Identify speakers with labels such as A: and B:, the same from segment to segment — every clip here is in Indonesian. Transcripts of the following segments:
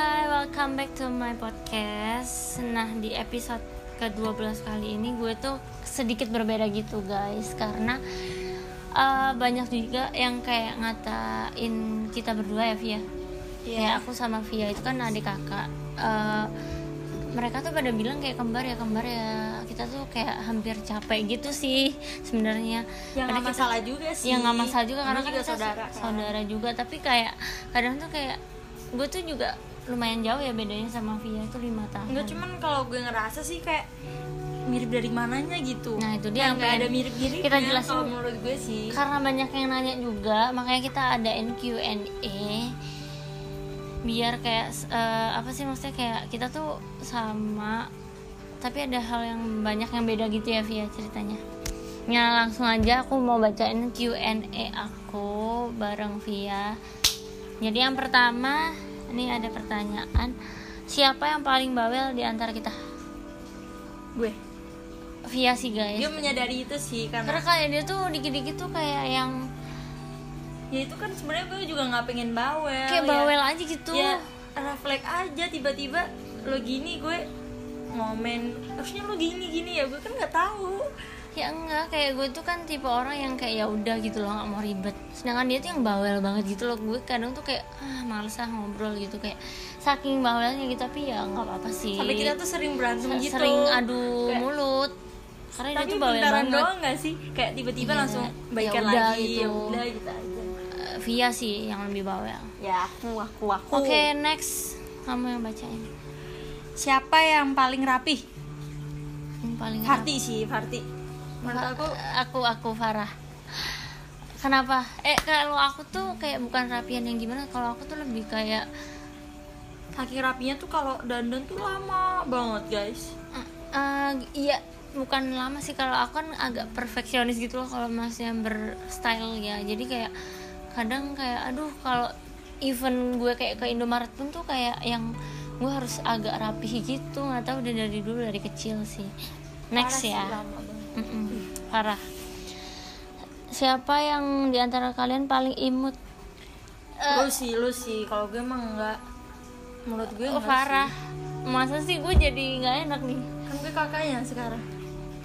A: welcome back to my podcast Nah di episode ke-12 kali ini gue tuh sedikit berbeda gitu guys Karena eh, banyak juga yang kayak ngatain kita berdua ya Via Kayak aku sama Via itu kan adik kakak Eh, Mereka tuh pada bilang kayak kembar ya kembar ya Kita tuh kayak hampir capek gitu sih sebenarnya
B: yang
A: Padahal
B: nggak masalah juga sih
A: Iya nggak masalah juga karena
B: Namanya
A: kan
B: juga
A: kita
B: saudara kan.
A: saudara juga tapi kayak kadang tuh kayak gue tuh juga lumayan jauh ya bedanya sama Via tuh lima tahun
B: nggak cuman kalau gue ngerasa sih kayak mirip dari mananya gitu
A: Nah, itu dia yang
B: nggak
A: pengen
B: ada mirip mirip
A: kita jelasin.
B: kalau menurut gue sih
A: karena banyak yang nanya juga makanya kita adain Q&A biar kayak eh, apa sih maksudnya kayak kita tuh sama tapi ada hal yang banyak yang beda gitu ya Via ceritanya Nah langsung aja aku mau bacain Q&A aku bareng Via Jadi yang pertama ini ada pertanyaan Siapa yang paling bawel di antara kita?
B: gue
A: Via sih guys
B: dia menyadari itu sih karena
A: Karena kayak dia tuh dikit-dikit tuh kayak yang
B: ya itu kan sebenarnya gue juga nggak pengen bawel
A: kayak
B: ya.
A: bawel aja gitu
B: ya refleks aja tiba-tiba lo gini gue ngomen harusnya lo gini gini ya gue kan nggak tahu
A: ya enggak kayak gue tuh kan tipe orang yang kayak ya udah gitu loh nggak mau ribet sedangkan dia tuh yang bawel banget gitu loh gue kadang tuh kayak ah males ah ngobrol gitu kayak saking bawelnya gitu tapi ya nggak apa-apa sih
B: sampai kita tuh sering berantem
A: Se-
B: gitu
A: sering adu
B: Kayak-
A: mulut karena dia
B: tapi
A: tuh bawel ya
B: bentaran
A: banget
B: doang gak sih kayak tiba-tiba
A: Iya,
B: langsung baikan
A: yaudah
B: lagi
A: gitu.
B: yaudah gitu aja
A: Eh, Via sih yang lebih bawel
B: ya aku aku aku
A: oke next kamu yang bacain
B: siapa yang paling rapi
A: yang paling
B: Farti sih Farti menurut
A: Fa-
B: aku
A: aku aku Farah kenapa eh kalau aku tuh kayak bukan rapian yang gimana kalau aku tuh lebih kayak
B: saking rapinya tuh kalau dandan tuh lama banget guys
A: eh, eh, iya bukan lama sih kalau aku kan agak perfeksionis gitu loh kalau masnya berstyle ya jadi kayak kadang kayak aduh kalau event gue kayak ke Indomaret pun tuh kayak yang gue harus agak rapih gitu nggak tahu udah dari dulu dari kecil sih next
B: Parah sih,
A: ya
B: lama banget.
A: Mm-mm, parah siapa yang diantara kalian paling imut Eh.
B: lu sih lu sih kalau gue emang enggak menurut gue
A: oh,
B: enggak
A: parah masa sih gue jadi nggak enak nih
B: sih. kan gue kakaknya sekarang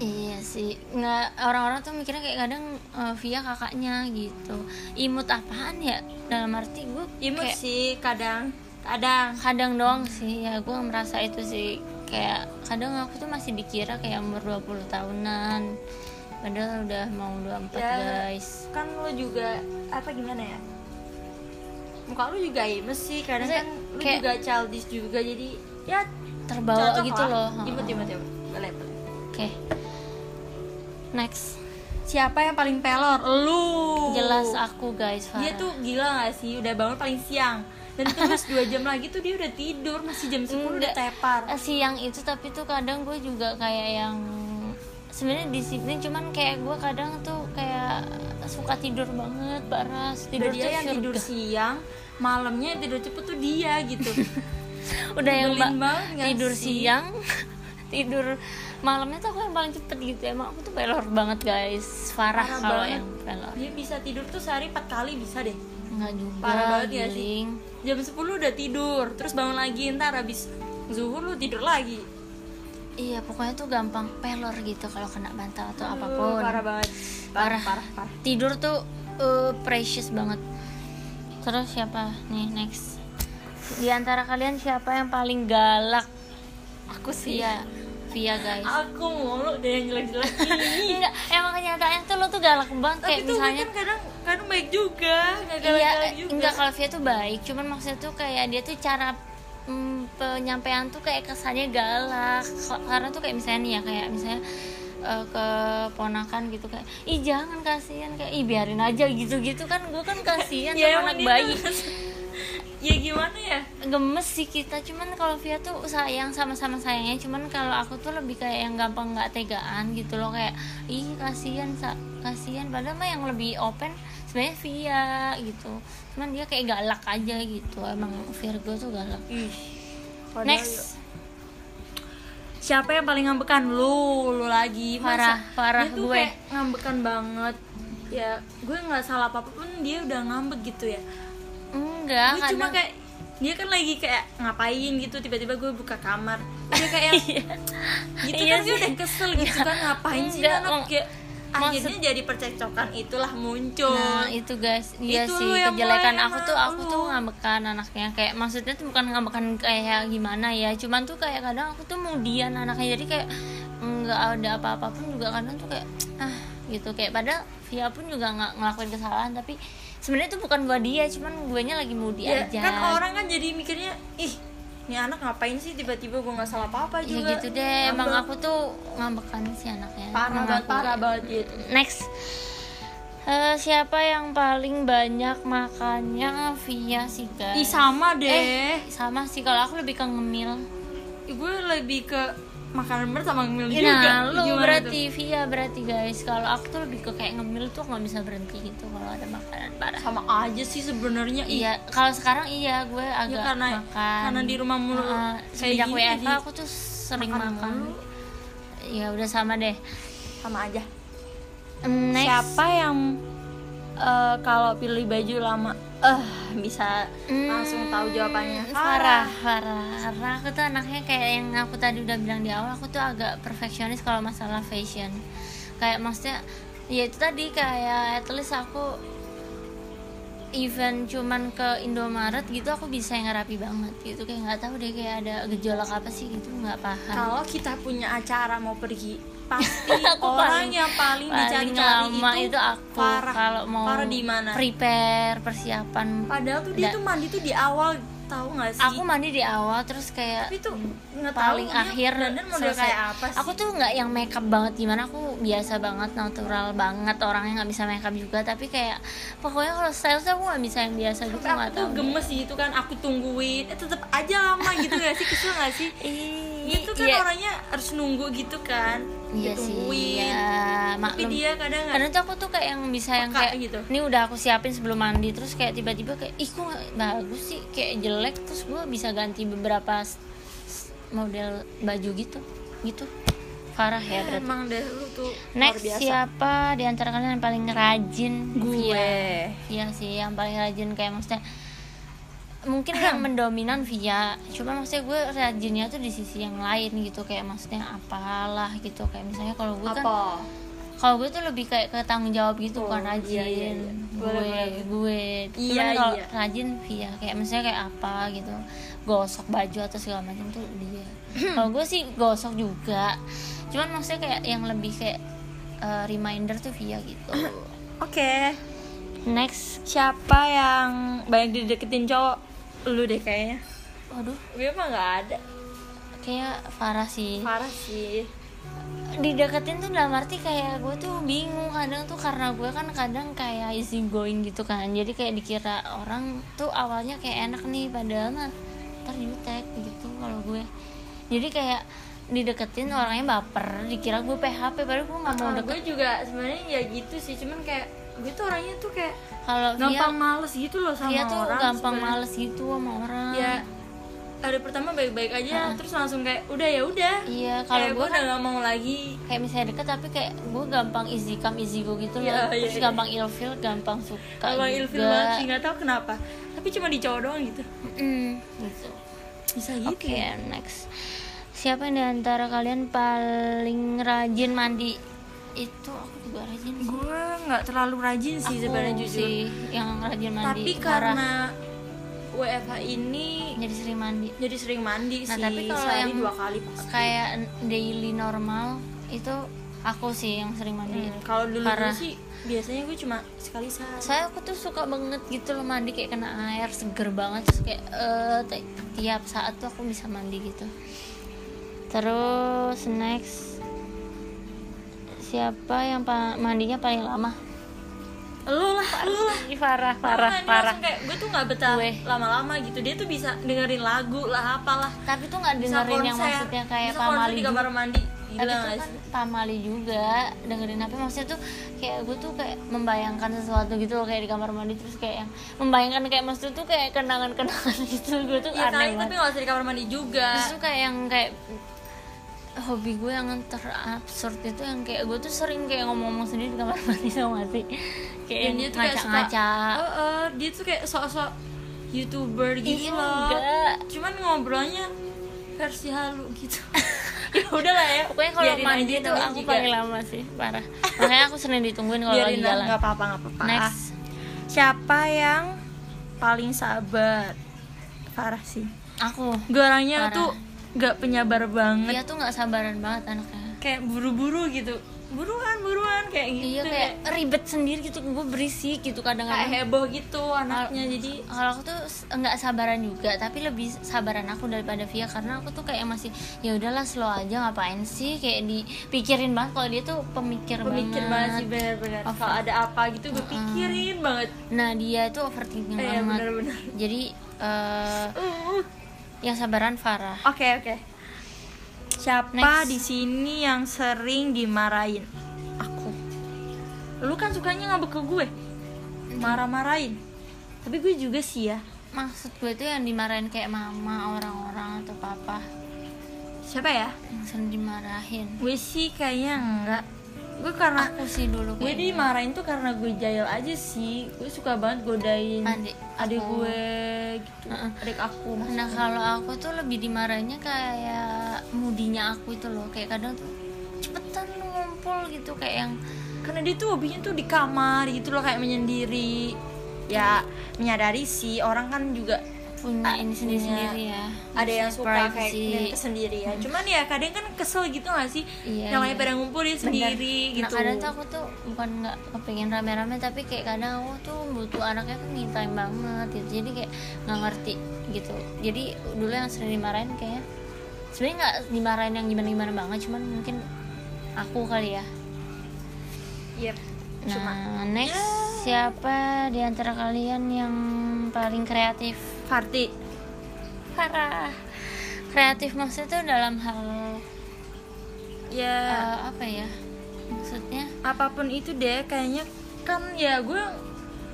A: iya sih nggak orang-orang tuh mikirnya kayak kadang eh, via kakaknya gitu imut apaan ya dalam arti gue
B: imut
A: kayak
B: sih kadang kadang
A: kadang doang sih ya gue merasa itu sih kayak kadang aku tuh masih dikira kayak umur 20 tahunan padahal udah mau 24
B: Ya.
A: guys
B: kan lu juga apa gimana ya muka lu juga imes sih kadang
A: Maksudnya
B: kan lu
A: kayak-
B: juga childish juga jadi ya
A: terbawa
B: cocok
A: gitu
B: lah.
A: loh
B: imut imut imut boleh boleh.
A: Oke. Next.
B: siapa yang paling pelor lu
A: Jelas ah. aku guys, Farah.
B: Oh. dia tuh gila gak sih udah bangun paling siang dan terus dua jam lagi tuh dia udah tidur masih jam 10 udah
A: Enggak.
B: tepar
A: Eh, siang itu tapi tuh kadang gue juga kayak yang sebenarnya disiplin cuman kayak gue kadang tuh kayak suka tidur banget parah tidur
B: udah dia
A: tuh
B: yang
A: surga.
B: tidur siang malamnya yang tidur cepet tuh dia gitu
A: udah yang
B: Nyebelin
A: ba-
B: banget nggak
A: tidur
B: sih?
A: siang tidur malamnya tuh aku yang paling cepet gitu emang aku tuh pelor banget guys Farah
B: Parah
A: kalau
B: banget.
A: yang pelor
B: dia bisa tidur tuh sehari empat kali bisa deh
A: nggak juga
B: Parah banget ya sih.
A: giling.
B: jam 10 udah tidur terus bangun lagi ntar habis zuhur lu tidur lagi
A: iya pokoknya tuh gampang pelor gitu kalau kena bantal atau
B: Aduh,
A: apapun
B: Hmm, parah banget
A: parah,
B: parah parah
A: tidur tuh uh, precious banget terus siapa nih next di antara kalian siapa yang paling galak
B: aku sih
A: via via guys
B: Iya. aku mulu deh yang jelek-jelek
A: enggak emang kenyataannya tuh lo tuh galak banget
B: tapi
A: kayak
B: tuh gue
A: misalnya
B: kan kadang kadang baik juga nggak
A: iya
B: galak-galak juga
A: enggak kalau via tuh baik cuman maksudnya tuh kayak dia tuh cara mm, penyampaian tuh kayak kesannya galak Ko- karena tuh kayak misalnya nih ya kayak misalnya eh, ke ponakan gitu kayak ih jangan kasihan kayak ih biarin aja gitu gitu kan gue kan kasihan
B: Ya,
A: sama
B: emang
A: anak
B: dia
A: bayi
B: tuh- ya gimana ya
A: gemes sih kita cuman kalau Via tuh sayang sama-sama sayangnya cuman kalau aku tuh lebih kayak yang gampang nggak tegaan gitu loh kayak ih kasihan sa- kasihan padahal mah yang lebih open sebenarnya Via gitu cuman dia kayak galak aja gitu emang Virgo tuh galak
B: Ih, padahal ya.
A: next
B: siapa yang paling ngambekan lu lu lagi
A: Parah, parah
B: dia tuh
A: gue.
B: kayak ngambekan banget ya gue nggak salah apa pun dia udah ngambek gitu ya
A: enggak Ah,
B: gue
A: kadang
B: cuma kayak dia kan lagi kayak ngapain gitu tiba-tiba gue buka kamar dia kayak gitu
A: Iya
B: kan gue
A: sih. Iya.
B: udah kesel gitu kan ngapain sih
A: Enggak,
B: anak
A: mak-
B: kayak
A: maksud-
B: akhirnya jadi percekcokan itulah muncul
A: Nah itu guys, iya
B: Itu
A: sih
B: lu yang
A: kejelekan
B: mulai
A: aku
B: emang
A: tuh aku
B: lu.
A: tuh ngambekan anaknya kayak maksudnya tuh bukan ngambekan kayak gimana ya, cuman tuh kayak kadang aku tuh mudian anaknya jadi kayak nggak ada apa-apa pun juga kadang tuh kayak ah gitu kayak padahal Via pun juga nggak ngelakuin kesalahan tapi sebenarnya tuh bukan gua dia, cuman guanya lagi mudi iya
B: ya
A: aja.
B: kan orang kan jadi mikirnya ih ini anak ngapain sih tiba-tiba gue nggak salah apa-apa
A: ya
B: juga
A: gitu deh, emang
B: Ngambek.
A: aku tuh ngambekan si anaknya.
B: parah
A: Emang
B: banget
A: aku-
B: parah banget dia tuh.
A: Next. Eh, siapa yang paling banyak makannya Via sih guys?
B: Ih sama deh.
A: Iya. Eh, sama sih kalau aku lebih ke ngemil.
B: Ih, gue lebih ke makanan berat sama ngemil juga.
A: Nah, lu
B: Gimana
A: berarti
B: tuh?
A: Via berarti guys. Kalau aku tuh lebih ke kayak ngemil tuh nggak bisa berhenti gitu kalau ada makanan parah.
B: sama aja sih sebenarnya.
A: Iya,
B: Iya.
A: kalau sekarang iya gue agak
B: Ya, karena-
A: makan.
B: karena di rumah mulu
A: Heeh,
B: kayak
A: semenjak
B: gini
A: WFH
B: jadi
A: aku tuh sering
B: makan
A: makan.
B: mulu.
A: Ya udah sama deh.
B: Sama aja.
A: Em, Next.
B: Siapa yang eh, kalau pilih baju lama eh bisa
A: Hmm,
B: langsung tahu jawabannya.
A: Farah, Farah. Karena aku tuh anaknya kayak yang aku tadi udah bilang di awal, aku tuh agak perfeksionis kalau masalah fashion. Kayak maksudnya, ya itu tadi kayak at least aku event cuman ke Indomaret gitu aku bisa yang rapi banget gitu kayak nggak tahu deh kayak ada gejolak apa sih gitu nggak paham.
B: Kalau kita punya acara mau pergi pasti
A: Aku
B: orang
A: paling-
B: yang paling,
A: Paling
B: dicari-cari
A: lama itu,
B: itu,
A: aku
B: parah.
A: kalau mau
B: parah di mana?
A: prepare persiapan.
B: Padahal tuh dia
A: Da-
B: tuh mandi tuh di awal tahu nggak sih?
A: Aku mandi di awal terus kayak
B: tapi tuh nggak tahu
A: paling
B: dia
A: akhir
B: dandan model
A: selesai.
B: kayak apa sih?
A: aku tuh nggak yang makeup banget gimana aku biasa banget natural banget orangnya nggak bisa makeup juga tapi kayak pokoknya kalau style tuh aku nggak bisa yang biasa
B: Tapi
A: gitu
B: aku
A: nggak
B: tuh
A: tahu
B: gemes gitu kan aku tungguin eh, tetep aja lama gitu gak sih kesel gak sih
A: Ih,
B: gitu kan
A: iya,
B: orangnya harus nunggu gitu kan
A: iya sih
B: ditungguin
A: ya
B: tapi
A: maklum
B: dia kadang nggak-
A: karena tuh aku tuh kayak yang bisa yang
B: Peka
A: kayak
B: gitu.
A: ini udah aku siapin sebelum mandi terus kayak tiba-tiba kayak ih kok nggak bagus sih kayak jelek terus gue bisa ganti beberapa s- s- model baju gitu gitu parah ya berarti
B: Eh, emang deh lu tuh luar
A: Next
B: biasa
A: siapa di antara kalian yang paling rajin?
B: gue
A: Via. Iya sih, yang paling rajin kayak maksudnya mungkin yang mendominan Via. Cuma maksudnya gue rajinnya tuh di sisi yang lain gitu kayak maksudnya apalah gitu kayak misalnya kalau gue kan
B: apa
A: kalau gue tuh lebih kayak ke tanggung jawab gitu
B: Oh,
A: bukan
B: iya,
A: rajin
B: iya, iya.
A: gue
B: Boleh, boleh.
A: gue
B: Iya,
A: cuman kalau
B: iya.
A: rajin via kayak misalnya kayak apa gitu gosok baju atau segala macam tuh dia kalau gue sih gosok juga cuman maksudnya kayak yang lebih kayak eh, reminder tuh via gitu
B: oke
A: next
B: siapa yang banyak dideketin cowok lu deh kayaknya
A: waduh
B: gue mah nggak ada
A: kayak Farah sih
B: parah sih
A: dideketin tuh dalam arti kayak gue tuh bingung kadang tuh karena gue kan kadang kayak easy going gitu kan jadi kayak dikira orang tuh awalnya kayak enak nih padahal mah ntar jutek gitu kalau gue jadi kayak dideketin orangnya baper dikira gue PHP padahal gue nggak mau
B: Ah,
A: deket
B: gue juga sebenarnya ya gitu sih cuman kayak gue tuh orangnya tuh kayak
A: kalau dia
B: gampang males gitu loh sama
A: dia tuh
B: orang
A: gampang
B: sebenarnya.
A: males gitu sama orang
B: ya hari pertama baik-baik aja terus langsung kayak udah ya udah
A: iya
B: kalau
A: kalau
B: gue
A: gue
B: udah
A: kan
B: gak mau lagi
A: kayak misalnya deket tapi kayak gue gampang easy come easy go gitu loh
B: Iya, iya,
A: terus
B: iya.
A: gampang ilfil gampang suka
B: kalau
A: juga.
B: ilfil banget sih nggak tahu kenapa tapi cuma di cowok doang gitu
A: Mm-mm, gitu
B: bisa gitu
A: Oke, next. Siapa yang di antara kalian paling rajin mandi? Itu aku juga rajin sih.
B: gue nggak terlalu rajin sih
A: Aku
B: sebenarnya jujur
A: sih yang rajin mandi.
B: tapi
A: parah.
B: karena WFH ini
A: jadi sering mandi.
B: jadi sering mandi
A: Nah,
B: sih
A: tapi kalau
B: sehari
A: yang- Iya.
B: dua kali pasti
A: Kayak daily normal itu aku sih yang sering mandi.
B: Hmm, kalau dulu
A: Parah.
B: sih biasanya gue cuma sekali sehari
A: Saya aku tuh suka banget gitu loh mandi kayak kena air seger banget terus kayak eh, ti- tiap saat tuh aku bisa mandi gitu. Terus next siapa yang pa- mandinya paling lama?
B: lu lah lu lah
A: Ih, parah parah
B: Kan, dia
A: parah
B: langsung kayak gue tuh nggak betah
A: Gue.
B: lama-lama gitu dia tuh bisa dengerin lagu lah apalah
A: tapi tuh nggak
B: Bisa
A: dengerin yang
B: konser,
A: maksudnya kayak
B: bisa konser
A: pamali
B: di
A: juga
B: kamar mandi
A: tapi
B: gila
A: tuh
B: nggak
A: kan
B: sih?
A: pamali juga dengerin apa maksudnya tuh kayak gue tuh kayak membayangkan sesuatu gitu loh kayak di kamar mandi terus kayak yang membayangkan kayak maksud tuh kayak kenangan-kenangan gitu gue tuh
B: Iya
A: aneh
B: kali tapi ya.
A: banget
B: nggak usah di kamar mandi juga
A: terus tuh kayak yang kayak hobi gue yang terabsurd itu yang kayak gue tuh sering kayak ngomong-ngomong sendiri di kamar mandi sama sih kayak
B: dan
A: yang
B: dia tuh kayak suka
A: ngaca-ngaca
B: Eh, eh, dia tuh kayak sok-sok youtuber
A: Ih,
B: gitu loh
A: enggak.
B: cuman ngobrolnya versi halu gitu ya udah lah ya
A: Pokoknya kalau
B: biarin
A: mandi
B: aja
A: tuh
B: namanya
A: aku
B: juga.
A: paling lama sih, parah. Makanya aku sering ditungguin kalau lagi
B: biarin lah
A: jalan.
B: nggak apa-apa nggak apa-apa
A: Next.
B: siapa yang paling sabar parah sih
A: Aku.
B: gue orangnya
A: Parah.
B: tuh nggak penyabar banget
A: Dia tuh nggak sabaran banget anaknya.
B: kayak buru-buru gitu buruan buruan kayak gitu
A: Iya kayak ribet sendiri gitu, gue berisik gitu
B: kayak
A: kadang-kadang.
B: heboh gitu anaknya
A: Kalau-
B: jadi
A: Kalau aku tuh s- nggak sabaran juga, tapi lebih sabaran aku daripada Via karena aku tuh kayak masih ya udahlah slow aja ngapain sih kayak dipikirin banget kalau dia tuh pemikir,
B: pemikir banget sih benar-benar
A: Over.
B: kalau ada apa gitu gue pikirin banget
A: Nah dia itu overthinking
B: Iya,
A: banget.
B: benar-benar.
A: Jadi eh,
B: Uh.
A: yang sabaran Farah.
B: Oke oke. Siapa
A: Next.
B: di sini yang sering dimarahin? Aku. Lu kan sukanya ngambek ke gue. Marah-marahin. Tapi gue juga sih ya.
A: Maksud gue tuh yang dimarahin kayak mama, orang-orang atau papa
B: Siapa ya?
A: yang sering dimarahin.
B: Gue sih kayaknya enggak. Gue karena
A: Aku sih dulu
B: gue
A: kayak gitu.
B: dimarahin tuh karena gue jahil aja sih. Gue suka banget godain
A: Adik
B: adik
A: aku.
B: gue gitu.
A: Heeh.
B: Adik aku.
A: gitu. Nah kalau aku tuh lebih dimarahinnya kayak mudinya aku itu loh Kayak kadang tuh cepetan lu ngumpul gitu kayak yang
B: karena dia tuh hobinya tuh di kamar gitu loh kayak menyendiri ya menyadari sih orang kan juga
A: punya
B: Ah,
A: ini sendiri-sendiri
B: punya.
A: ya
B: ada yang suka kayak
A: Privacy.
B: dengan kesendirian cuman ya kadang kan kesel gitu gak sih
A: Hmm. Iya,
B: namanya
A: iya.
B: pada ngumpul dia sendiri
A: Bener.
B: gitu
A: nah, kadang tuh aku tuh bukan nggak kepengen rame-rame tapi kayak kadang aku tuh butuh anaknya tuh me time banget gitu jadi kayak nggak ngerti gitu jadi dulu yang sering dimarahin kayak sebenarnya nggak dimarahin yang gimana-gimana banget cuman mungkin aku kali ya
B: Yep.
A: nah
B: Iya. cuma
A: next siapa di antara kalian yang paling kreatif
B: Farti
A: parah kreatif maksudnya tuh dalam hal
B: ya
A: eh, apa ya maksudnya
B: apapun itu deh kayaknya kan ya gue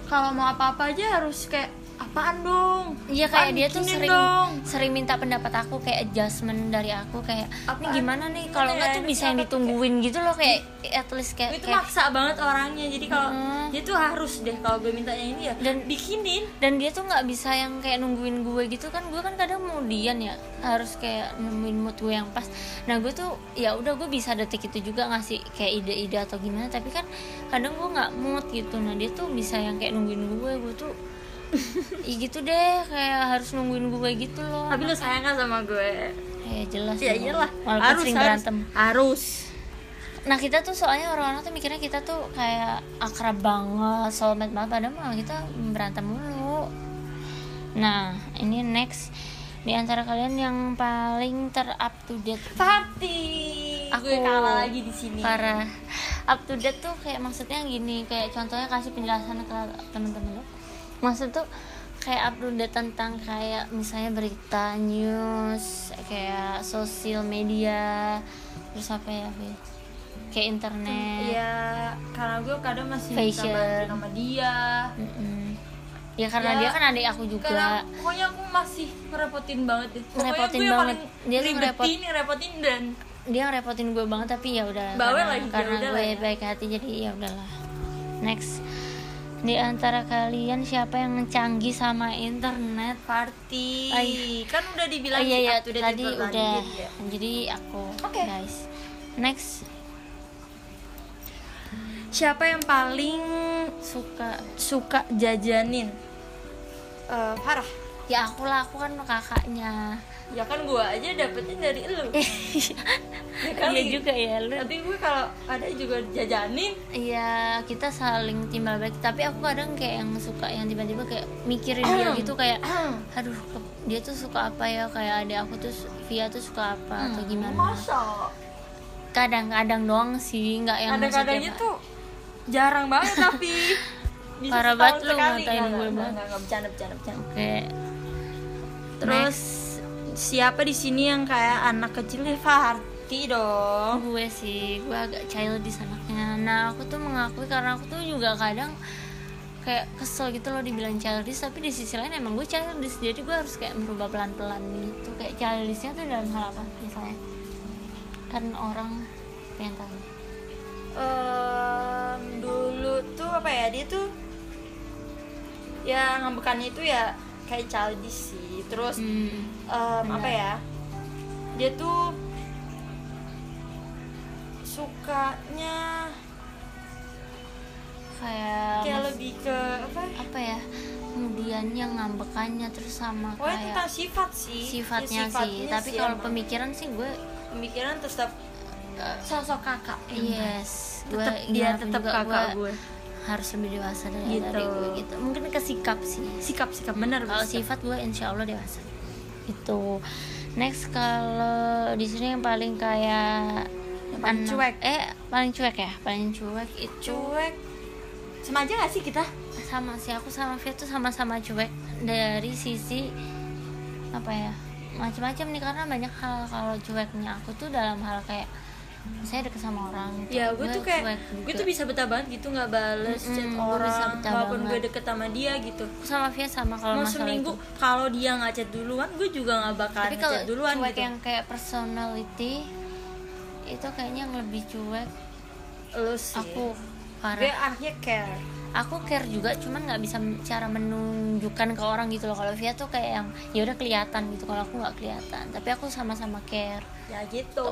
B: kalau mau apa-apa aja harus kayak apaan dong
A: Iya kayak
B: Apaan
A: dia tuh
B: bikinin
A: sering
B: dong?"
A: sering minta pendapat aku kayak adjustment dari aku kayak ini
B: Apaan?
A: gimana nih
B: Gimana
A: kalau nggak
B: ya?
A: tuh
B: Ini
A: bisa yang
B: kenapa tuh Hmm?
A: ditungguin gitu loh kayak at least kayak,
B: gue tuh
A: kayak-
B: maksa banget orangnya jadi kalau
A: Hmm.
B: dia tuh harus deh kalau gue mintanya ini ya
A: Dan-
B: bikinin
A: dan dia tuh nggak bisa yang kayak nungguin gue gitu kan gue kan kadang mudian ya harus kayak nemuin mood gue yang pas nah gue tuh ya udah gue bisa detik itu juga ngasih kayak ide-ide atau gimana tapi kan kadang gue nggak mood gitu nah dia tuh bisa yang kayak nungguin gue gue tuh Ih gitu deh kayak harus nungguin gue gitu loh
B: tapi lu sayang kan sama gue
A: ya jelas
B: ya
A: dong.
B: iyalah
A: walaupun
B: harus
A: sering
B: harus,
A: berantem
B: harus
A: Nah kita tuh soalnya orang-orang tuh mikirnya kita tuh kayak akrab banget, soulmate banget Padahal malah kita berantem mulu Nah ini next Di antara kalian yang paling ter up to date
B: Party
A: Aku
B: gue kalah lagi di sini
A: Parah Up to date tuh kayak maksudnya gini Kayak contohnya kasih penjelasan ke temen-temen lu. Maksud tuh kayak up to date tentang kayak misalnya berita, news, kayak sosial media Terus apa ya Fi? Kayak internet
B: ya karena gue kadang masih bisa
A: Fashion.
B: bantu sama dia
A: Mm-mm. Ya karena
B: Ya,
A: dia kan adik aku juga.
B: karena pokoknya aku masih ngerepotin banget deh pokoknya
A: Ngerepotin
B: gue yang
A: banget.
B: paling
A: Dia tuh
B: ribetin ngerepotin dan
A: Dia ngerepotin gue banget tapi ya udah.
B: Bawel
A: Karena,
B: lagi, ya
A: karena
B: udah
A: gue
B: lah ya.
A: baik hati jadi ya udahlah. Next. Di antara kalian siapa yang canggih sama internet?
B: Party
A: Ay.
B: kan udah dibilang
A: oh iya
B: di
A: iya
B: up to date
A: tadi
B: itu
A: udah.
B: tadi, jadi ya.
A: Jadi aku
B: Oke.
A: guys. Next
B: siapa yang paling
A: suka
B: suka jajanin Eh, parah
A: ya aku lah aku kan kakaknya.
B: ya kan gue aja dapetnya dari lu Ya kan?
A: Eh, Iya juga ya lu.
B: tapi gue kalau ada juga jajanin
A: Iya kita saling timbal balik tapi aku kadang kayak yang suka yang tiba-tiba kayak mikirin
B: Hmm.
A: dia gitu kayak aduh ke- dia tuh suka apa ya kayak ada aku tuh Via tuh suka apa atau
B: Hmm.
A: gimana
B: masa
A: kadang-kadang doang sih nggak yang
B: kadang-kadangnya
A: setiap-
B: tuh jarang banget tapi bisa
A: Parah
B: setahun
A: banget lu
B: sekali.
A: ngatain
B: Nggak,
A: gue
B: nggak,
A: banget.
B: nggak, nggak, bercanda bercanda bercanda
A: kayak
B: terus siapa di sini yang kayak anak kecil ya Farti dong
A: gue sih gue agak childish anaknya nah aku tuh mengakui karena aku tuh juga kadang kayak kesel gitu loh dibilang childish tapi di sisi lain emang gue childish jadi gue harus kayak merubah pelan-pelan gitu kayak childishnya tuh dalam hal apa misalnya kan orang pengen tahu
B: Em, dulu tuh apa ya dia tuh ya ngambekannya itu ya kayak childish sih terus
A: Hmm.
B: em, apa
A: Benar.
B: ya dia tuh sukanya
A: kayak
B: kayak lebih ke apa
A: apa ya kemudiannya ngambekannya terus sama
B: pokoknya
A: kayak
B: tentang sifat sih Ya,
A: sifatnya, sih tapi kalau
B: emang.
A: pemikiran sih gue
B: pemikiran tetap sosok kakak
A: yes gue
B: tetap Iya. dia
A: gimana pun
B: tetap
A: juga
B: kakak
A: gue
B: gue
A: harus lebih dewasa dari,
B: Gitu.
A: dari gue gitu mungkin ke sikap sih
B: sikap sikap benar
A: kalau sifat gue insya Allah dewasa itu next kalau di sini yang paling kayak
B: Yang paling
A: anak-
B: cuek.
A: eh paling cuek ya paling cuek itu
B: cuek sama aja gak sih kita
A: sama sih aku sama Fia tuh sama-sama cuek dari sisi apa ya macam-macam nih karena banyak hal kalau cueknya aku tuh dalam hal kayak saya deket sama orang gitu.
B: ya gue tuh kayak gue tuh
A: juga.
B: bisa betah banget gitu nggak bales
A: Mm-mm,
B: chat
A: gue bisa
B: orang
A: betah
B: walaupun gue
A: banget.
B: deket sama dia gitu
A: Aku sama Fia sama kalau
B: mau
A: masalah
B: seminggu
A: itu.
B: kalau dia nggak chat duluan gue juga nggak bakalan
A: tapi kalau
B: ngechat duluan
A: cuek
B: gitu
A: yang kayak personality itu kayaknya yang lebih cuek
B: lu sih
A: aku
B: gue
A: parah
B: akhirnya care
A: aku care juga cuman nggak bisa cara menunjukkan ke orang gitu loh kalau Fia tuh kayak yang ya udah kelihatan gitu kalau aku nggak kelihatan tapi aku sama-sama care
B: ya gitu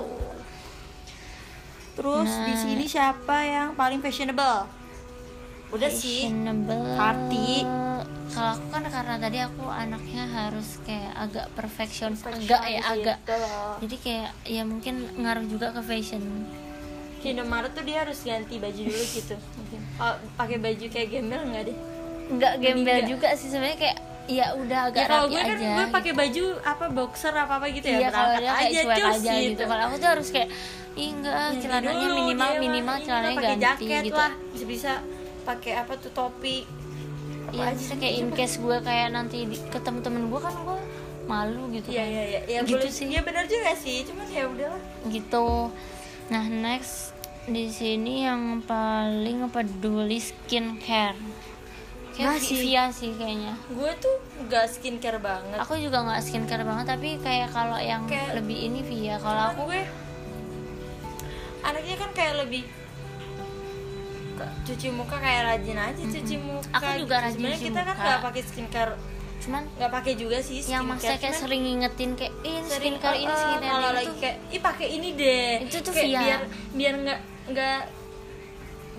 B: terus di
A: Nah.
B: sini siapa yang paling fashionable udah sih
A: fashionable
B: Party.
A: Iya kalau aku kan karena tadi aku anaknya harus kayak agak perfeksionis agak ya agak
B: Gitu loh.
A: jadi kayak ya mungkin ngaruh juga ke fashion
B: Di Indomaret tuh dia harus ganti baju dulu gitu oh, pakai baju kayak gembel nggak deh
A: nggak gembel
B: Enggak.
A: juga sih sebenarnya kayak ya udah agak
B: ya kalau
A: rapi
B: gue
A: aja gitu.
B: kan gue pakai baju apa boxer apa apa gitu ya
A: iya kalau dia
B: berangkat
A: kayak
B: aja
A: cuek
B: cus
A: aja gitu, Iya, kalau aku tuh harus kayak "Ih, enggak
B: Ganti
A: celananya
B: dulu,
A: minimal
B: dia mah,
A: minimal
B: ini
A: celananya
B: pakai
A: ganti
B: jaket
A: gitu
B: lah bisa bisa pakai apa tuh topi apa
A: Iya,
B: aja
A: maksudnya kayak in case gue kayak nanti di- ketemu temen gue kan gue malu gitu
B: Iya
A: kan.
B: iya iya ya,
A: Gitu
B: boleh-
A: sih.
B: Ya benar juga sih, cuman ya udahlah.
A: gitu nah next di sini yang paling peduli skincare kayak
B: Masih.
A: Vivia sih kayaknya
B: Gue tuh nggak skincare banget.
A: aku juga nggak skincare banget tapi kayak kalau yang
B: Kayak-
A: lebih ini Via kalau aku
B: gue anaknya kan kayak lebih ke- cuci muka kayak rajin aja cuci muka.
A: Aku juga
B: gitu.
A: rajin
B: Sebenarnya
A: cuci
B: kita kan
A: muka.
B: nggak pakai skincare,
A: cuman
B: nggak pakai juga sih skincare.
A: yang maksudnya kayak
B: cuman
A: sering ngingetin kayak "Ih, ini
B: sering
A: skincare ini
B: eh, eh,
A: skincare
B: kalau
A: ini
B: lagi
A: tuh
B: kayak ih pakai ini deh.
A: Itu tuh
B: kayak
A: via.
B: biar biar nggak nggak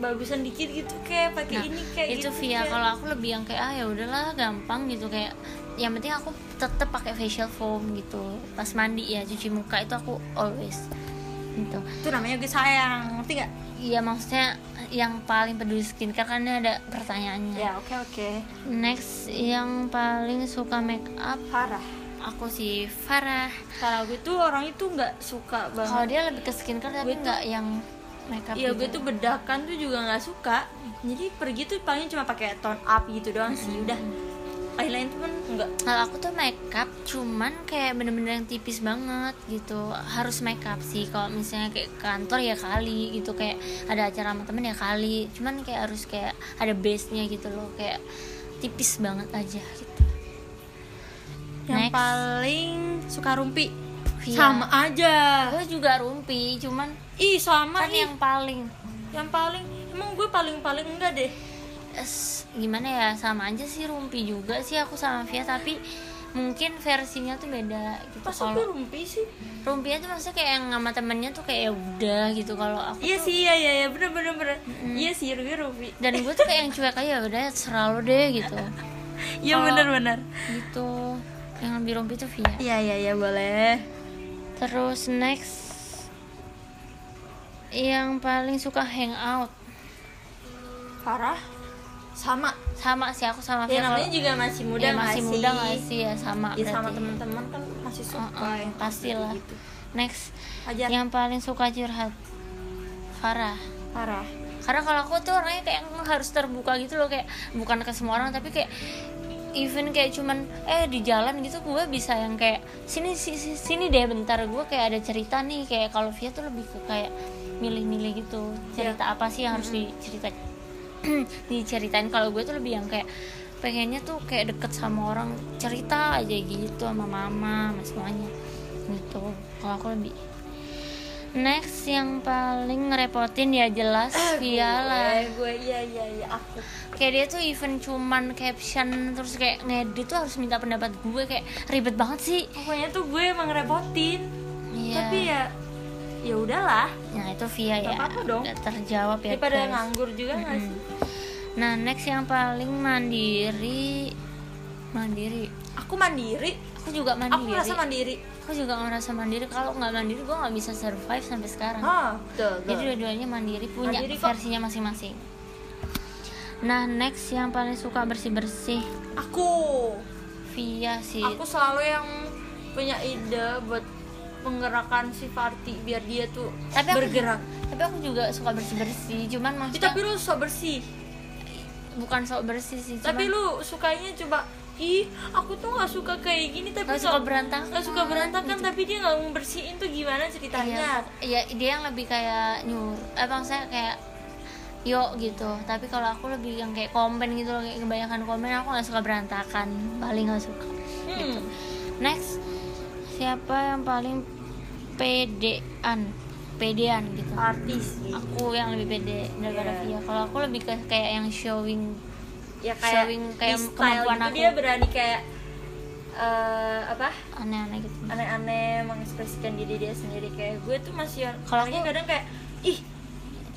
B: bagusan dikit gitu kayak pakai
A: Nah,
B: ini kayak
A: itu
B: gitu,
A: via
B: kayak-
A: kalau aku lebih yang kayak ah ya udahlah gampang gitu kayak yang penting aku tetap pakai facial foam gitu pas mandi ya cuci muka itu aku always gitu
B: itu namanya gue sayang ngerti nggak
A: Iya maksudnya yang paling peduli skincare kan ini ada pertanyaannya.
B: ya oke oke
A: Next yang paling suka make up
B: parah
A: aku si Farah.
B: parah gue tuh orang itu nggak suka
A: Kalau
B: banget
A: dia lebih ke skincare tapi
B: Gue tuh-
A: nggak yang make up.
B: Iya
A: gitu.
B: gue tuh bedakan tuh juga nggak suka jadi pergi tuh paling cuma pakai tone up gitu doang sih
A: Hmm.
B: udah lain-lain tuh kan nggak
A: Kalau aku tuh make up cuman kayak bener-bener yang tipis banget gitu. Harus make up sih kalau misalnya kayak ke kantor ya kali gitu kayak ada acara sama temen ya kali. Cuman kayak harus kayak ada base-nya gitu loh kayak tipis banget aja gitu.
B: yang
A: Next.
B: paling suka rumpi
A: Iya.
B: sama aja
A: Gue juga rumpi cuman
B: ih sama
A: kan
B: nih yang...
A: yang paling
B: paling emang gue paling paling enggak deh
A: es, gimana ya sama aja sih rumpi juga sih aku sama Via tapi mungkin versinya tuh beda gitu
B: pas gue
A: kalau
B: rumpi sih
A: rumpinya tuh maksudnya kayak yang sama temennya tuh kayak ya udah gitu kalau aku
B: iya
A: tuh-
B: sih iya iya iya bener bener bener iya sih gue rumpi
A: dan gue tuh kayak yang cuek aja "Ya udah selalu deh gitu
B: iya
A: Kalau-
B: bener bener
A: gitu yang lebih rumpi tuh Via
B: iya iya iya boleh
A: terus next yang paling suka hangout
B: parah sama
A: sama sih aku sama
B: ya
A: Via
B: namanya
A: kalau-
B: juga masih muda
A: ya, masih
B: nggak
A: muda
B: sih?
A: nggak sih ya sama
B: ya sama
A: berarti.
B: teman-teman kan masih suka
A: Heeh,
B: yang
A: pastilah.
B: gitu
A: Next,
B: aja
A: yang paling suka curhat Farah.
B: parah
A: Karena kalau aku tuh orangnya kayak yang harus terbuka gitu loh kayak bukan ke semua orang tapi kayak even kayak cuman eh di jalan gitu gue bisa yang kayak sini sini sini deh bentar gue kayak ada cerita nih kayak kalau Via tuh lebih ke kayak milih-milih gitu cerita apa sih yang harus dicerita diceritain kalau gue tuh lebih yang kayak pengennya tuh kayak deket sama orang cerita aja gitu sama mama sama semuanya gitu kalau aku lebih Next yang paling ngerepotin ya jelas Viala.
B: gue iya iya iya aku
A: Kayak dia tuh even cuman caption terus kayak ngedit tuh harus minta pendapat gue kayak ribet banget sih.
B: pokoknya tuh gue emang ngerepotin
A: Iya.
B: tapi ya ya udahlah
A: Nah itu Via
B: Gak
A: ya.
B: apa-apa dong.
A: Udah terjawab ya.
B: daripada
A: guys.
B: nganggur juga nggak
A: Mm-mm.
B: sih
A: Nah next yang paling mandiri mandiri.
B: aku mandiri
A: Aku juga mandiri.
B: aku merasa mandiri
A: Aku juga ngerasa mandiri. Kalau nggak mandiri gue nggak bisa survive sampai sekarang.
B: ah betul, betul.
A: Jadi dua-duanya mandiri punya
B: Mandiri kok.
A: versinya masing-masing. Nah next yang paling suka bersih-bersih
B: aku
A: Via sih.
B: aku selalu yang punya ide buat menggerakkan si Farti biar dia tuh
A: Tapi aku-
B: bergerak
A: Tapi aku juga suka bersih-bersih. Cuman
B: Ih,
A: maksudnya
B: tapi lu sok bersih
A: bukan sok bersih sih.
B: tapi
A: cuman
B: lu sukanya coba ih aku tuh nggak suka kayak gini tapi
A: Nggak suka berantakan."
B: nggak suka berantakan tapi dia nggak ngebersihin tuh gimana ceritanya
A: Iya, iya, dia yang lebih kayak nyur, eh saya kayak yuk gitu. Tapi kalau aku lebih yang kayak komen gitu loh, kayak kebanyakan komen aku nggak suka berantakan, paling nggak suka.
B: Hmm.
A: Gitu. Next, siapa yang paling pedean, pedean gitu?
B: artis sih.
A: Aku yang lebih pede daripada
B: Iya.
A: Via. Kalau aku lebih ke kayak yang showing
B: ya kayak
A: showing kayak
B: di style
A: kemampuan
B: gitu,
A: aku.
B: dia berani kayak eh, apa
A: aneh-aneh gitu.
B: aneh-aneh mengekspresikan diri dia sendiri kayak gue tuh masih
A: Kalau
B: orangnya
A: aku-
B: kadang kayak ih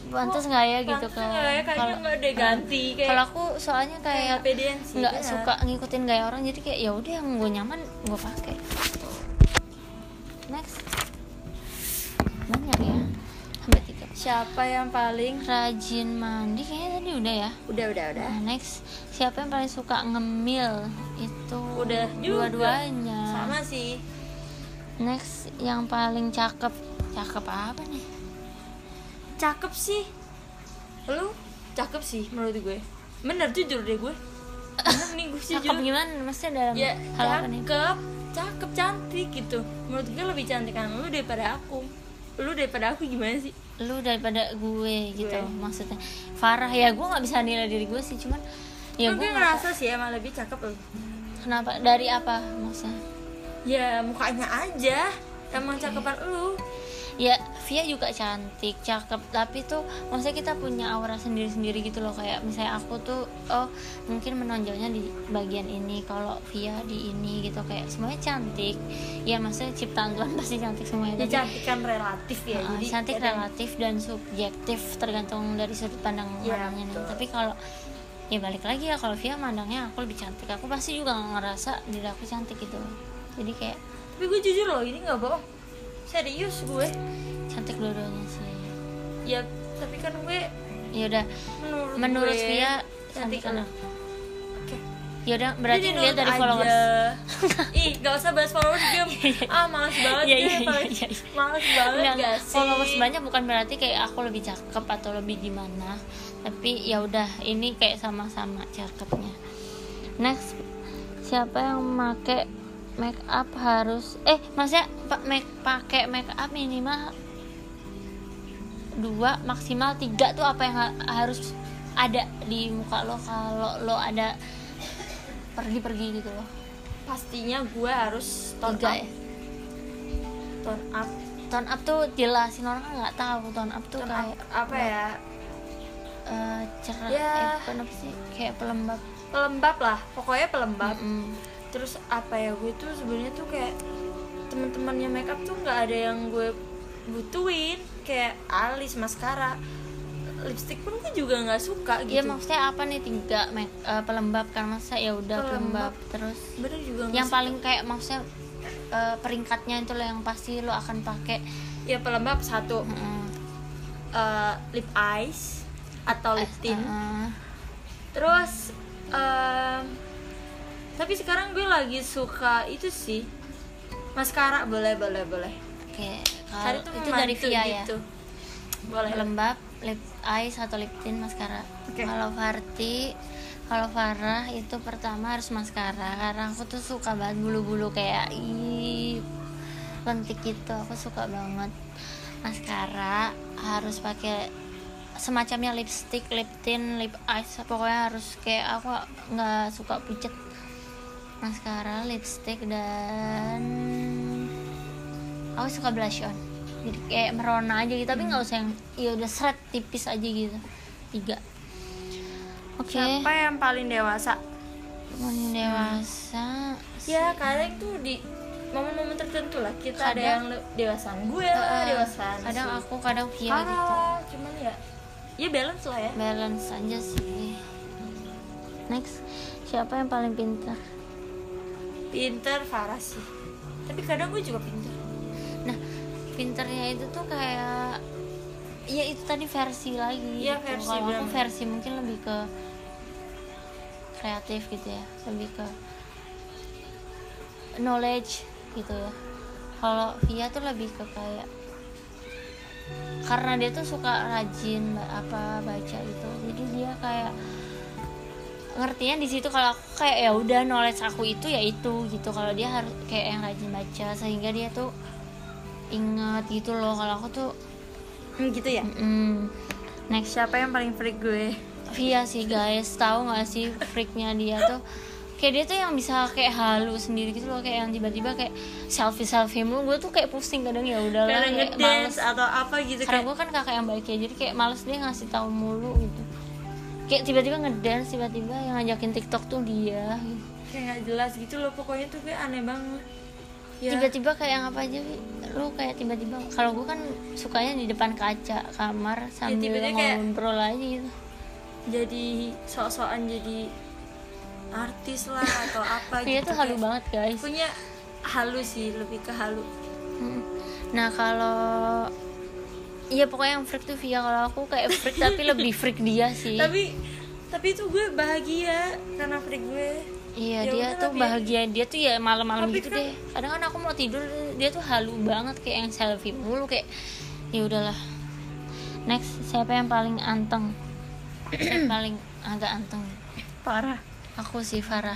A: Pantas nggak ya gitu
B: pantes
A: kan?
B: nggak ya, kayaknya
A: Kalau- Nah,
B: nggak deh ganti kayak
A: kalau aku soalnya
B: kayak
A: kayak
B: pedean sih iya.
A: nggak
B: benar.
A: suka ngikutin gaya orang jadi kayak ya udah yang gue nyaman gue pakai next banyak ya sampai tiga
B: siapa yang paling
A: rajin mandi kayaknya tadi udah ya
B: udah udah udah
A: nah, next siapa yang paling suka ngemil itu
B: udah juga
A: dua-duanya
B: sama sih
A: next yang paling cakep cakep apa nih
B: cakep sih lu cakep sih menurut gue bener jujur deh gue bener nih gue jujur
A: cakep gimana maksudnya dalam
B: ya
A: hal apa nih
B: cakep cakep cantik gitu menurut gue lebih cantikan lu daripada aku lu daripada aku gimana sih
A: lu daripada gue gitu
B: Gue.
A: maksudnya Farah ya gue nggak bisa nilai diri gue sih cuman ya
B: Tapi
A: gue
B: gue ngerasa sih emang lebih cakep lu
A: kenapa dari apa maksudnya
B: ya mukanya aja emang cakepan lu
A: ya Via juga cantik cakep tapi tuh maksudnya kita punya aura sendiri sendiri gitu loh kayak misalnya aku tuh oh mungkin menonjolnya di bagian ini kalau Via di ini gitu kayak semuanya cantik ya maksudnya ciptaan Tuhan pasti cantik semuanya
B: ya
A: tapi
B: cantikan relatif ya
A: Heeh,
B: jadi
A: Ah, cantik
B: kadang-
A: relatif dan subjektif tergantung dari sudut pandang
B: Iya,
A: orangnya nih.
B: betul.
A: Tapi kalau ya balik lagi ya kalau Via mandangnya aku lebih cantik. Aku pasti juga ngerasa diri aku cantik gitu. Jadi kayak
B: tapi gue jujur loh ini nggak bohong serius gue
A: cantik dua-duanya sih.
B: ya tapi kan gue
A: Ya udah
B: menurut
A: menurut
B: gue,
A: Via cantik
B: cantik
A: kan.
B: lu. oke
A: Ya udah berarti
B: Jadi
A: dilihat dari
B: nurut
A: followers.
B: aja. Ih, gak usah bahas followers game. ah, males banget
A: Iya,
B: deh,
A: iya, iya,
B: males-
A: iya, iya.
B: Males banget
A: Enggak,
B: gak sih?
A: followers banyak bukan berarti kayak aku lebih cakep atau lebih gimana tapi ya udah ini kayak sama-sama cakepnya next siapa yang make make up harus eh maksudnya pak make pakai make up minimal dua maksimal tiga tuh apa yang ha- harus ada di muka lo kalau lo ada pergi-pergi gitu loh
B: Pastinya gue harus tone
A: Tiga
B: up.
A: ya?
B: Tone up.
A: tone up tuh jelasin orang kan nggak tahu tone up tuh
B: Tone up
A: kayak
B: apa ya?
A: eh cerah
B: Ya.
A: eh, bukan apa sih kayak pelembab
B: Pelembab lah, pokoknya pelembab.
A: Mm-mm.
B: Terus apa ya gue tuh sebenarnya tuh kayak teman-temannya makeup tuh nggak ada yang gue butuhin kayak alis, maskara, lipstick pun gue juga nggak suka
A: Iya
B: gitu.
A: maksudnya apa nih tiga make- eh, pelembab kan masa ya udah pelembab
B: Pelembab.
A: terus
B: Bener juga nggak
A: yang
B: suka.
A: paling kayak maksudnya eh, peringkatnya itu lo yang pasti lo akan pakai
B: ya pelembab satu.
A: Mm-mm.
B: eh, lip eyes atau lip tint.
A: Eh,
B: Terus em, tapi sekarang gue lagi suka itu sih maskara boleh boleh boleh.
A: oke
B: Cari
A: kalau
B: tuh
A: itu dari
B: memantul
A: Via
B: gitu.
A: ya
B: Boleh.
A: pelembab lip eyes atau lip tint maskara
B: Oke.
A: kalau Farti kalau Farah itu pertama harus maskara karena aku tuh suka banget bulu-bulu kayak ih lentik gitu aku suka banget maskara harus pakai semacamnya lipstick, lip tint, lip eyes pokoknya harus kayak aku nggak suka pucet maskara, lipstick dan aku suka blush on jadi kayak merona aja gitu tapi nggak usah yang ya udah seret tipis aja gitu tiga oke
B: siapa yang paling dewasa
A: teman dewasa
B: ya kadang tuh di momen-momen tertentu lah kita ada
A: Kadang-
B: yang le- dewasaan gue lah dewasaan
A: kadang
B: si
A: aku kadang Via
B: Farah.
A: gitu
B: cuman ya ya balance lah ya
A: balance aja sih next siapa yang paling pintar
B: pinter Farah sih tapi kadang gue juga pinter
A: nah pinternya itu tuh kayak ya itu tadi versi lagi
B: Iya,
A: gitu.
B: versi,
A: kalau aku
B: benar.
A: versi mungkin lebih ke kreatif gitu ya lebih ke knowledge gitu ya kalau Via tuh lebih ke kayak karena dia tuh suka rajin ba- apa baca gitu jadi dia kayak ngertinya di situ kalau aku kayak ya udah knowledge aku itu ya itu gitu kalau dia harus kayak yang rajin baca sehingga dia tuh ingat gitu loh kalau aku tuh
B: Hmm, gitu ya
A: mm, next
B: siapa yang paling freak gue
A: Via sih guys tahu nggak sih freaknya dia tuh kayak dia tuh yang bisa kayak halu sendiri gitu loh kayak yang tiba-tiba kayak selfie selfie mulu gue tuh kayak pusing kadang ya udahlah
B: kadang
A: kayak males
B: ngedance atau apa gitu
A: karena
B: kayak
A: gue kan kakak yang baik ya jadi kayak males dia ngasih tahu mulu gitu kayak tiba-tiba ngedance tiba-tiba yang ngajakin tiktok tuh dia gitu.
B: kayak nggak jelas gitu loh pokoknya tuh gue aneh banget ya
A: tiba-tiba kayak yang apa aja Wi? lu kayak tiba-tiba kalau gue kan sukanya di depan kaca kamar sambil
B: Iya, tiba-tiba kayak-
A: ngobrol aja gitu
B: jadi sok-sokan jadi artis lah atau
A: dia
B: apa gitu
A: Iya, tuh halu
B: kayak-
A: banget guys
B: punya halu sih lebih ke halu
A: Mm. nah kalau Iya pokoknya yang freak tuh Via kalau aku kayak freak tapi lebih freak dia sih.
B: tapi tapi itu gue bahagia karena freak gue
A: Iya
B: Ya
A: dia
B: udah
A: tuh
B: lah, biar-
A: bahagia dia tuh ya malam-malam
B: Tapi
A: gitu
B: kan-
A: deh. Kadang kan aku mau tidur dia tuh halu banget kayak yang selfie mulu kayak ya udahlah. Next siapa yang paling anteng? Yang paling agak anteng.
B: parah
A: Aku sih Farah.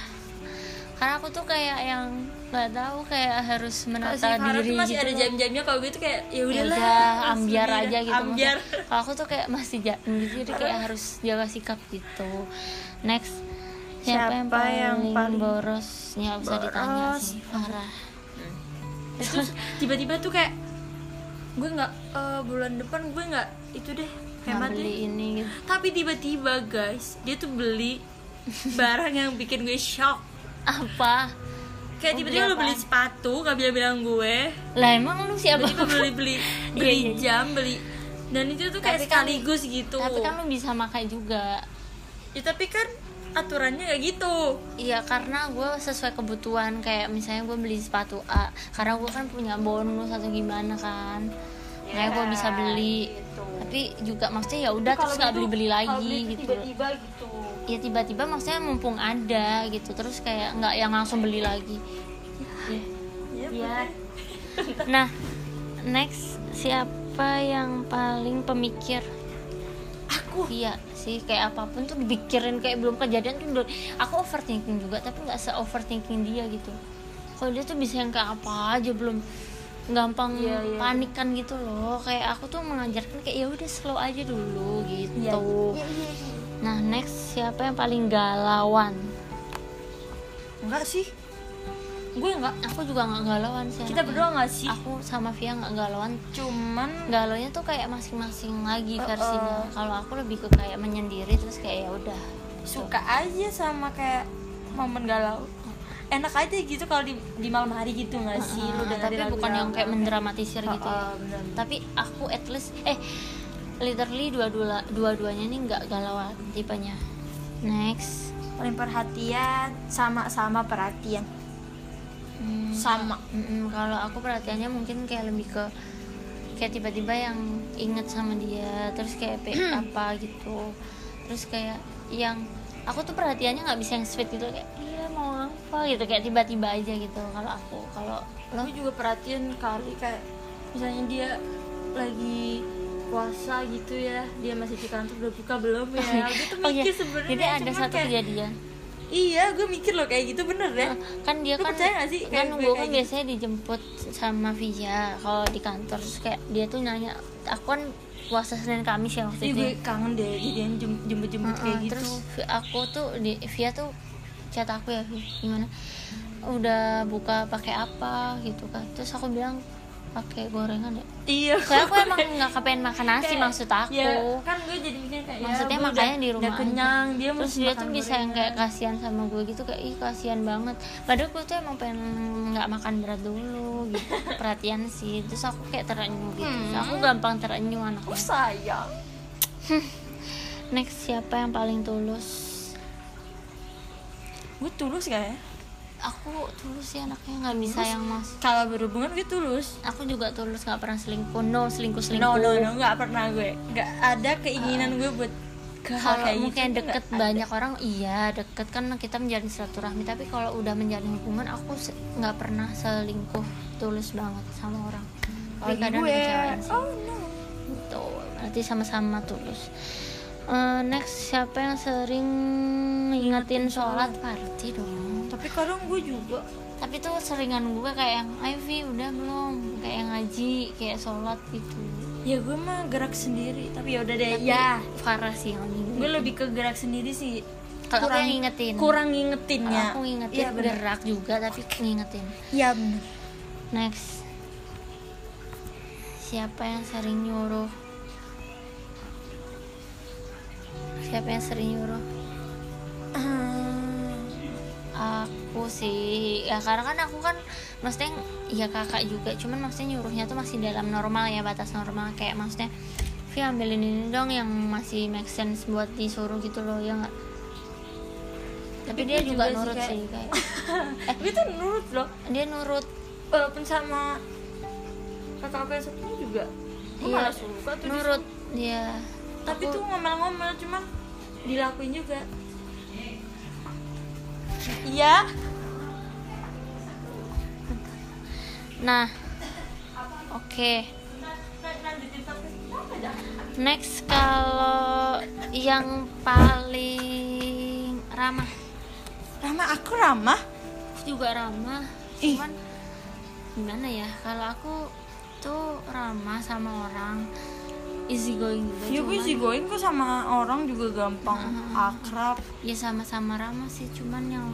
A: Karena aku tuh kayak yang nggak tahu kayak harus
B: kalau si
A: menata
B: Farah
A: diri
B: tuh masih
A: gitu
B: ada
A: loh.
B: jam-jamnya kalau gue tuh kayak ya
A: Ya
B: udahlah
A: udah
B: harus
A: ambiar
B: lebih-
A: aja gitu
B: ambiar
A: maksudnya. kalau aku tuh kayak masih jaim gitu jadi kayak harus jaga sikap gitu next siapa, yang
B: Siapa
A: paling,
B: yang paling-
A: boros nggak usah ditanya
B: Boros.
A: sih parah
B: terus tiba-tiba tuh kayak gue nggak eh, bulan depan gue nggak itu deh
A: nggak
B: hemat
A: beli
B: deh
A: ini gitu
B: tapi tiba-tiba guys dia tuh beli barang yang bikin gue shock
A: apa
B: kayak
A: Oh,
B: tiba-tiba
A: beli
B: lo beli
A: apaan?
B: sepatu gak bilang-bilang gue
A: lah emang lu siapa
B: tiba-tiba beli beli beli
A: Iya, iya, iya.
B: jam beli dan itu tuh kayak
A: Tapi kan-
B: sekaligus gitu
A: tapi kan lu bisa makai juga
B: Ya, tapi kan aturannya kayak gitu
A: Iya karena gue sesuai kebutuhan kayak misalnya gue beli sepatu A karena gue kan punya bonus atau gimana kan kayak gue bisa beli
B: gitu.
A: tapi juga maksudnya ya udah terus nggak beli beli lagi gitu
B: tiba-tiba gitu
A: ya tiba-tiba maksudnya mumpung ada gitu terus kayak nggak yang langsung beli lagi
B: iya
A: nah next siapa yang paling pemikir
B: aku
A: Iya sih kayak apapun tuh dipikirin kayak belum kejadian tuh udah- aku overthinking juga tapi nggak se overthinking dia gitu kalau dia tuh bisa yang kayak apa aja belum gampang
B: Iya, iya.
A: panikan gitu loh kayak aku tuh mengajarkan kayak ya udah slow aja dulu gitu
B: Iya.
A: nah next siapa yang paling galauan
B: enggak sih
A: Iya.
B: gue enggak
A: aku juga nggak galauan sih
B: kita
A: anaknya.
B: berdua enggak sih
A: aku sama Via nggak galauan
B: cuman
A: galaunya tuh kayak masing-masing lagi
B: Uh-uh.
A: versinya kalau aku lebih ke kayak menyendiri terus kayak ya udah gitu.
B: suka aja sama kayak momen galau enak aja gitu kalau di, di malam hari gitu nggak sih lu
A: Ah, tapi
B: dengerin lagu
A: bukan yang
B: galau.
A: kayak mendramatisir
B: Oh,
A: gitu
B: oh,
A: ya.
B: bener.
A: tapi aku at least eh literally dua dua duanya nih nggak galauan tipenya next
B: paling perhatian sama-sama perhatian
A: Hmm,
B: Sama.
A: mm-mm, kalau aku perhatiannya mungkin kayak lebih ke kayak tiba-tiba yang inget sama dia terus kayak pe-
B: Hmm.
A: apa gitu terus kayak yang aku tuh perhatiannya nggak bisa yang sweet gitu kayak iya mau apa gitu kayak tiba-tiba aja gitu kalau aku kalau lo
B: Gue juga perhatian kali kayak misalnya dia lagi puasa gitu ya dia masih di kantor udah buka belum ya gue tuh
A: Oh iya,
B: mikir sebenarnya
A: jadi ada
B: cuman
A: satu
B: kayak,
A: kejadian
B: iya gue mikir loh kayak gitu bener ya
A: kan dia
B: Lu
A: kan
B: percaya nggak sih
A: kan
B: kayak gue
A: gue kan
B: kayak gitu?
A: biasanya dijemput sama Via kalau di kantor terus kayak dia tuh nanya aku kan puasa Senin Kamis ya waktu
B: Ih,
A: itu
B: gue
A: ya.
B: Iya, kangen deh jadi yang jem- jemput-jemput
A: Heeh,
B: kayak gitu
A: Uh-uh, terus Vi- aku tuh di Via tuh chat aku ya Vi, gimana udah buka pakai apa gitu kan terus aku bilang "Eh, pakai gorengan ya
B: iya
A: soalnya aku emang nggak kepengen makan nasi
B: Kayak-
A: maksud aku
B: ya, kan gue jadi mikirnya kayak ya,
A: maksudnya
B: gue
A: makanya
B: udah-
A: di rumah
B: udah
A: aja.
B: kenyang dia
A: terus
B: mesti
A: dia
B: makan
A: tuh bisa yang
B: gorengan.
A: kayak kasihan sama gue gitu kayak ih kasihan banget padahal gue tuh emang pengen nggak makan berat dulu gitu perhatian sih terus aku kayak terenyuh gitu Terus
B: Hmm.
A: aku gampang terenyuh
B: oh
A: anaknya
B: sayang
A: next siapa yang paling tulus
B: gue tulus gak ya
A: aku tulus sih anaknya nggak bisa yang mas
B: kalau berhubungan gue tulus
A: aku juga tulus nggak pernah selingkuh no selingkuh selingkuh ya?
B: no no no nggak pernah gue nggak ada keinginan gue buat ke hal
A: kalau
B: kayak gitu
A: mungkin
B: tuh
A: deket
B: nggak
A: banyak orang iya deket kan kita menjalin silaturahmi tapi kalau udah menjalin hubungan aku se- nggak pernah selingkuh tulus banget sama orang
B: ada.
A: tapi
B: Bagi
A: kadang
B: gue
A: kecewain sih
B: oh no
A: gitu berarti sama-sama tulus Eh, next siapa yang sering ngingetin sholat party dong
B: tapi kadang gue juga
A: tapi tuh seringan gue kayak yang Ivy udah belum kayak yang ngaji kayak sholat gitu
B: ya gue mah gerak sendiri tapi ya udah deh
A: Tapi
B: ya
A: Farah sih yang ini
B: gue lebih ke gerak sendiri sih
A: Kalau aku yang ngingetin.
B: kurang
A: Kalau
B: ngingetinnya
A: aku ngingetin
B: ya bener
A: gerak juga tapi ngingetin
B: ya bener
A: next siapa yang sering nyuruh siapa yang sering nyuruh Eh.
B: Ah,
A: aku sih ya karena kan aku kan maksudnya ya kakak juga cuman maksudnya nyuruhnya tuh masih dalam normal ya batas normal kayak maksudnya Vi ambilin ini dong yang masih make sense buat disuruh gitu loh ya nggak tapi, dia
B: gue
A: juga,
B: juga sih
A: nurut
B: kayak-
A: sih kayak
B: gue tuh nurut loh
A: dia nurut
B: walaupun sama kakak aku yang satunya juga gue
A: Iya,
B: malah suka tuh
A: nurut dia
B: disuruh. tapi
A: Aku-
B: tuh ngomel-ngomel cuman dilakuin juga iya
A: Nah, oke. Next kalau yang paling ramah,
B: ramah aku ramah
A: Aku juga ramah.
B: Ih.
A: Cuman gimana ya? Kalau aku tuh ramah sama orang, easy going
B: ya
A: gitu.
B: gue
A: cuman-
B: sih goin kok sama orang juga gampang akrab
A: ya sama-sama ramah sih cuman yang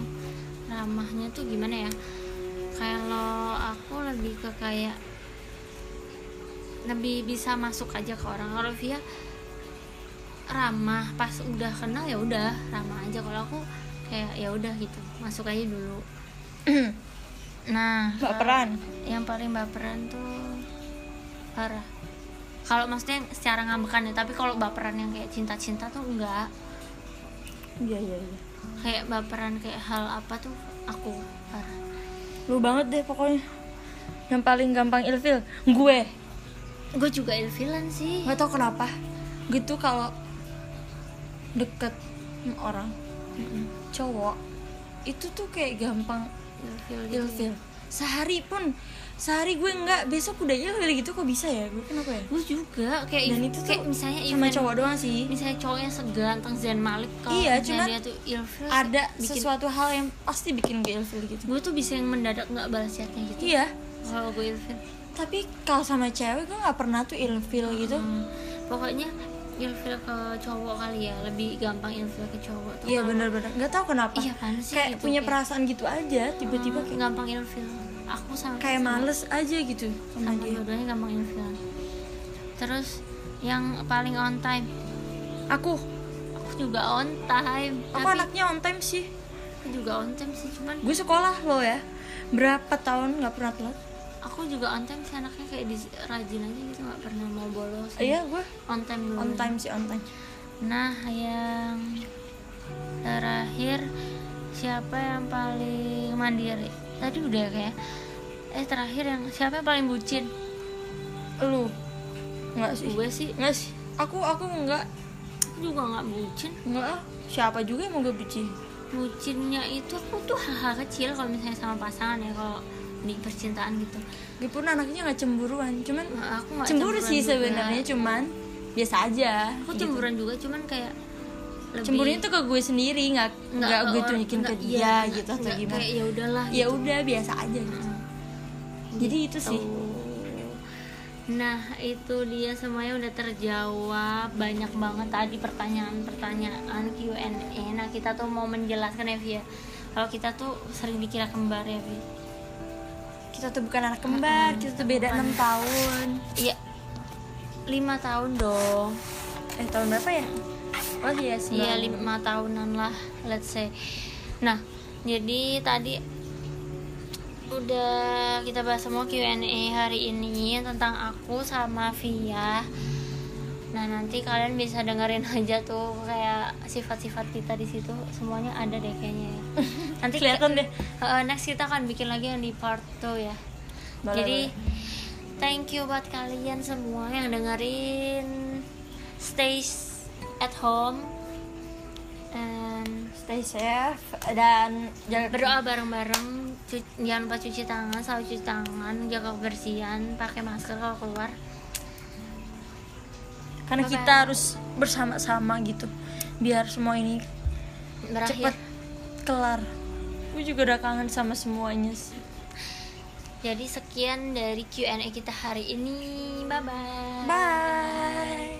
A: ramahnya tuh gimana ya kalau aku lebih ke kayak lebih bisa masuk aja ke orang kalau Via ramah pas udah kenal ya udah ramah aja kalau aku kayak ya udah gitu masuk aja dulu nah kalau-
B: baperan
A: yang paling baperan tuh parah kalau maksudnya secara ngambekan ya tapi kalau baperan yang kayak cinta-cinta tuh enggak
B: iya iya iya
A: kayak baperan kayak hal apa tuh aku parah
B: lu banget deh pokoknya yang paling gampang ilfil gue
A: gue juga ilfilan sih
B: nggak tau kenapa gitu kalau deket sama orang cowok itu tuh kayak gampang
A: ilfil gitu.
B: ilfil sehari pun sehari gue nggak besok udah ilfil gitu kok bisa ya gue kenapa ya
A: gue juga kayak
B: dan
A: ev-
B: itu tuh
A: kayak misalnya
B: sama
A: event-
B: cowok doang sih
A: misalnya cowoknya seganteng Zain Malik kalau
B: Iya,
A: misalnya
B: cuman
A: dia tuh ilfil
B: ada
A: bikin-
B: sesuatu hal yang pasti bikin gue ilfil gitu
A: gue tuh bisa yang mendadak nggak balas chatnya gitu
B: iya
A: kalau gue ilfil
B: tapi kalau sama cewek gue nggak pernah tuh ilfil gitu
A: Hmm, pokoknya ilfil ke cowok kali ya lebih gampang ilfil ke cowok tuh
B: iya
A: kalau-
B: bener-bener nggak tahu kenapa
A: Iya, apaan sih
B: kayak
A: gitu,
B: punya
A: kayak-
B: perasaan gitu aja tiba-tiba
A: Hmm,
B: kayak
A: gampang ilfil aku sama
B: kayak
A: sama-
B: males aja gitu sama
A: sama
B: dia
A: dua-duanya gampang ilfil terus yang paling on time
B: aku
A: aku juga on time
B: aku
A: tapi
B: anaknya on time sih
A: aku juga on time sih cuman
B: gue sekolah lo ya berapa tahun nggak pernah telat
A: aku juga on time sih anaknya kayak di, rajin aja gitu nggak pernah mau bolos
B: iya gue
A: on time dulu
B: on time sih on time
A: nah yang terakhir siapa yang paling mandiri tadi udah ya, kayak eh terakhir yang siapa yang paling bucin
B: lu nggak sih
A: gue sih
B: nggak sih aku aku nggak
A: aku juga nggak bucin
B: nggak ah. siapa juga yang mau gue benci
A: bucinnya itu aku tuh hal kecil kalau misalnya sama pasangan ya kalau di percintaan gitu
B: gue pun anaknya nggak cemburuan cuman
A: Nah, aku nggak
B: cemburu
A: cemburuan
B: sih
A: juga.
B: sebenarnya cuman biasa aja
A: aku
B: gitu.
A: cemburuan juga cuman kayak lebih
B: cemburunya tuh ke gue sendiri nggak nggak gue
A: orang-
B: tunjukin ke
A: nggak-
B: dia
A: iya,
B: gitu atau
A: nggak
B: gimana
A: kayak ya udahlah
B: ya
A: gitu.
B: udah biasa aja gitu jadi itu sih
A: Tuh. nah itu dia semuanya udah terjawab banyak banget tadi pertanyaan-pertanyaan Q&A nah kita tuh mau menjelaskan ya Vi, ya kalau kita tuh sering dikira kembar ya Vi
B: kita tuh bukan anak kembar kita tuh beda enam tahun
A: Iya. Lima tahun dong.
B: eh tahun berapa ya oh iya sih
A: Iya lima tahunan lah, let's say. Nah, jadi tadi udah kita bahas semua Q&A hari ini tentang aku sama Via. Nah nanti kalian bisa dengerin aja tuh kayak sifat-sifat kita di situ semuanya ada deh kayaknya. ya. Nanti
B: Kelihatan
A: kita-
B: deh.
A: Heeh, next kita akan bikin lagi yang di part 2 ya.
B: Boleh,
A: jadi thank you buat kalian semua yang dengerin stay s- at home and
B: stay safe dan jaga
A: berdoa bareng-bareng Cu- jangan lupa cuci tangan selalu cuci tangan jaga kebersihan pakai masker kalau keluar
B: karena
A: Bye-bye.
B: kita harus bersama-sama gitu biar semua ini
A: berakhir
B: cepet kelar gue juga udah kangen sama semuanya sih
A: jadi sekian dari Q&A kita hari ini bye bye
B: bye